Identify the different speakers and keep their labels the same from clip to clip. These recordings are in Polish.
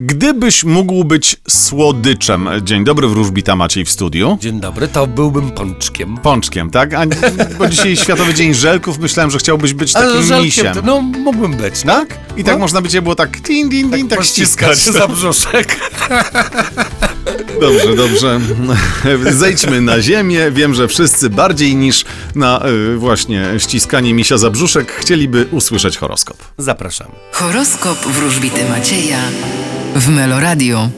Speaker 1: Gdybyś mógł być słodyczem, dzień dobry, wróżbita Maciej w studiu.
Speaker 2: Dzień dobry, to byłbym pączkiem.
Speaker 1: Pączkiem, tak? A, bo dzisiaj Światowy Dzień Żelków, myślałem, że chciałbyś być
Speaker 2: Ale
Speaker 1: takim
Speaker 2: żelkiem
Speaker 1: misiem.
Speaker 2: to- No, mógłbym być. No,
Speaker 1: Tak? I tak
Speaker 2: No.
Speaker 1: można by cię było tak din, din, din, tak, ściskać.
Speaker 2: się za brzuszek.
Speaker 1: Dobrze, dobrze. Zejdźmy na ziemię. Wiem, że wszyscy bardziej niż na y, właśnie ściskanie misia za brzuszek chcieliby usłyszeć horoskop.
Speaker 2: Zapraszamy.
Speaker 3: Horoskop wróżbity Macieja w Meloradio.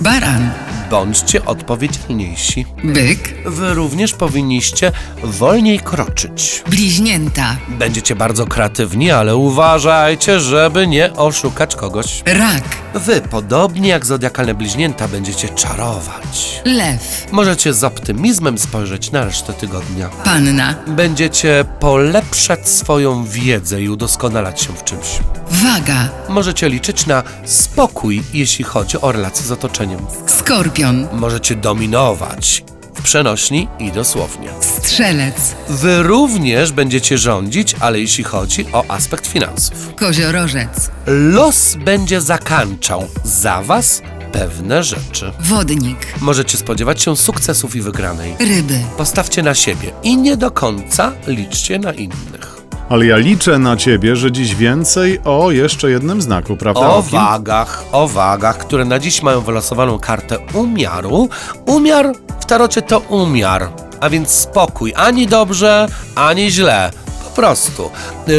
Speaker 3: Baran,
Speaker 2: Bądźcie odpowiedzialniejsi.
Speaker 3: byk,
Speaker 2: Wy również powinniście wolniej kroczyć.
Speaker 3: bliźnięta,
Speaker 2: Będziecie bardzo kreatywni, ale uważajcie, żeby nie oszukać kogoś.
Speaker 3: rak,
Speaker 2: Wy, podobnie jak zodiakalne bliźnięta, będziecie czarować.
Speaker 3: lew,
Speaker 2: Możecie z optymizmem spojrzeć na resztę tygodnia.
Speaker 3: panna,
Speaker 2: Będziecie polepszać swoją wiedzę i udoskonalać się w czymś.
Speaker 3: waga,
Speaker 2: Możecie liczyć na spokój, jeśli chodzi o relacje z otoczeniem.
Speaker 3: skorpion,
Speaker 2: Możecie dominować w przenośni i dosłownie.
Speaker 3: strzelec,
Speaker 2: Wy również będziecie rządzić, ale jeśli chodzi o aspekt finansów.
Speaker 3: koziorożec,
Speaker 2: Los będzie zakańczał za was pewne rzeczy.
Speaker 3: wodnik,
Speaker 2: Możecie spodziewać się sukcesów i wygranej.
Speaker 3: ryby,
Speaker 2: Postawcie na siebie i nie do końca liczcie na innych.
Speaker 1: Ale ja liczę na ciebie, że dziś więcej o jeszcze jednym znaku, prawda?
Speaker 2: O
Speaker 1: Olki?
Speaker 2: wagach, o wagach, które na dziś mają wylosowaną kartę umiaru. Umiar w tarocie to umiar, a więc spokój, ani dobrze, ani źle. Po prostu.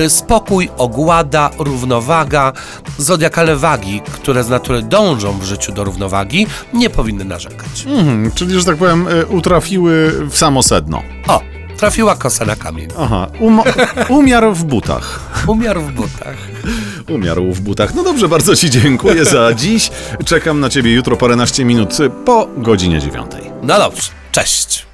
Speaker 2: Y, Spokój, ogłada, równowaga. Zodiakale wagi, które z natury dążą w życiu do równowagi, nie powinny narzekać.
Speaker 1: Mhm, czyli, że tak powiem, y, utrafiły w samo sedno.
Speaker 2: O, trafiła kosa na kamień.
Speaker 1: Aha, um, umiar w butach.
Speaker 2: Umiar w butach.
Speaker 1: Umiarł w butach. No dobrze, bardzo Ci dziękuję za dziś. Czekam na Ciebie jutro paręnaście minut po godzinie dziewiątej.
Speaker 2: No dobrze, cześć.